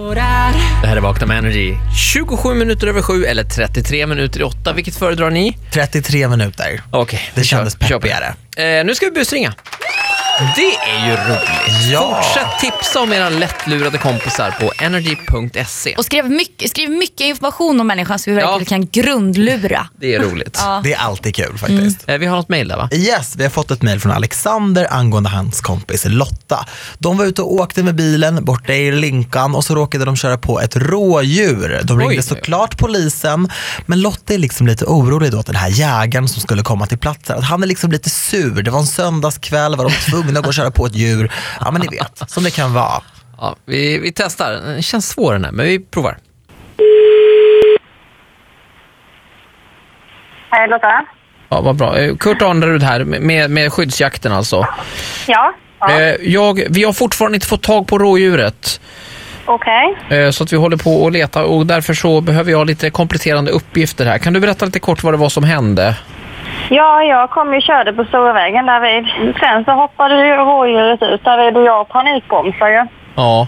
Llorar. Det här är Vakna med Energy. 27 minuter över sju eller 33 minuter i åtta. Vilket föredrar ni? 33 minuter. Okej, Det vi kör- kändes kör på peppigare. det. Eh, nu ska vi busringa. Det är ju roligt. Ja. Fortsätt tipsa om era lättlurade kompisar på e. energy.se. Och skriv mycket, skriv mycket information om människan så vi verkligen Ja. kan grundlura. Det är roligt. Ja. Det är alltid kul faktiskt. Eh, vi har något mejl där va? Yes, vi har fått ett mejl från Alexander angående hans kompis Lotta. De var ute och åkte med bilen borta i Linkan och så råkade de köra på ett rådjur. De Oj. ringde såklart polisen, men Lotta är liksom lite orolig då att den här jägaren som skulle komma till platsen, att han är liksom lite sur. Det var en söndagskväll, var de tvungna att gå och köra på ett djur? Ja men ni vet, som det kan vara. Ja, vi, vi testar. Den känns svår den här, men vi provar. Hej Lotta. Ja, vad bra. Eh, Kurt Arnerud här med, med skyddsjakten alltså. Ja, ja. Eh, Jag, vi har fortfarande inte fått tag på rådjuret. okej. Eh, Så att vi håller på och letar och därför så behöver jag lite kompletterande uppgifter här. Kan du berätta lite kort vad det var som hände? Ja, jag kom ju och körde på stora vägen därvid. Sen så hoppade ju rådjuret ut därvid och jag panikbromsade ju. Ja,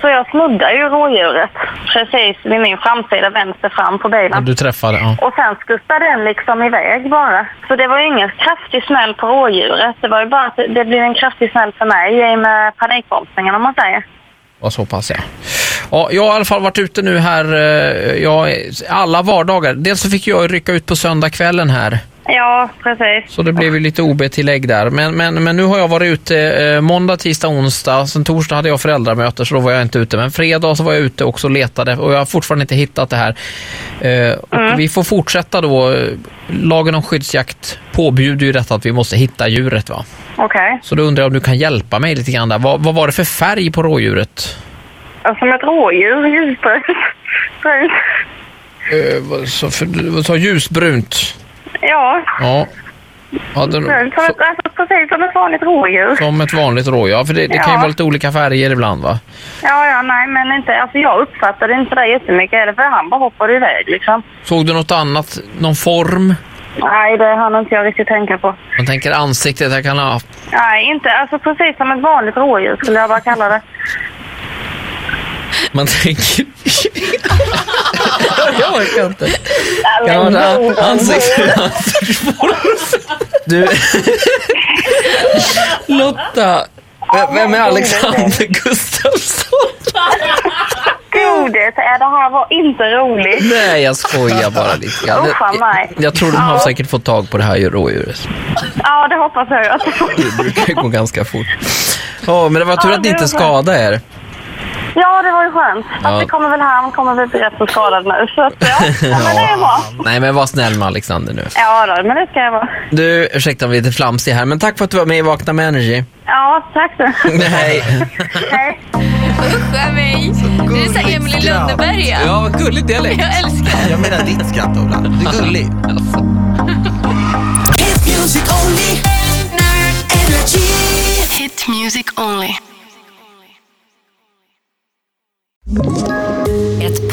Så jag snuddade ju rådjuret precis vid min framsida vänster fram på och bilen. du träffade. Ja. Och sen skuttade den liksom iväg bara. Så det var ju ingen kraftig smäll på rådjuret. Det var ju bara att det blev en kraftig smäll för mig i och med panikbromsningen om man säger. Och så pass ja. ja. Jag har i alla fall varit ute nu här eh, ja, alla vardagar. Dels så fick jag rycka ut på söndagskvällen här. Ja, precis. Så det blev ju lite OB-tillägg där. Men, men, men nu har jag varit ute eh, måndag, tisdag, onsdag. Sen torsdag hade jag föräldramöte så då var jag inte ute. Men fredag så var jag ute också och letade och jag har fortfarande inte hittat det här. Eh, och Vi får fortsätta då. Eh, Lagen om skyddsjakt påbjuder ju detta att vi måste hitta djuret. va? Okej. Så då undrar jag om du kan hjälpa mig lite grann där. Vad, vad var det för färg på rådjuret? Alltså, Som ett rådjur, ljusbrus. Eh, vad- så för, vad sa ljusbrunt? ja, Ja. Ja, den, Som så, ett, alltså, precis som ett vanligt rådjur. som ett vanligt rådjur. Ja, för det, det kan ju Ja. vara lite olika färger ibland va? Ja, ja, nej, men inte. Alltså, jag uppfattade inte det jättemycket heller, för han bara hoppade iväg liksom. Såg du något annat? Någon form? Nej, det hann inte jag riktigt tänka på. Man tänker ansiktet, jag kan ha... Nej, inte. Alltså precis som ett vanligt rådjur skulle jag bara kalla det. Man tänker... jag orkar inte. Kan man ha ansikte- ansiktsform? Du... Lotta, v- vem är Alexander Gustafsson? Godis, är det här var inte roligt. Nej, jag skojar bara lite grann. Usch, vad Jag, nice. jag tror de har säkert fått tag på det här rådjuret. Ja, det hoppas jag Alltså, ju att Det brukar ju gå ganska fort. Ja, men det var tur Ja, att ni det inte var bra. skadade er. Ja, det var ju skönt. Ja. Alltså, det kommer väl här, han kommer väl bli rätt så skadad nu. Så att, ja. ja, men det är bra. Nej, men var snäll med Alexander nu. Ja, då, men det ska jag vara. Du, ursäkta om vi är lite flamsiga här, men tack för att du var med i Vakna med Energy. Ja, tack du. Nej. Hej. Usch mig. Det är så här Emil i skratt. Lönneberga. Ja, vad gullig dialekt. Jag älskar Jag menar ditt skratt Ola, du är gullig. Hit music only. Nerd energy. Hit music only. Ett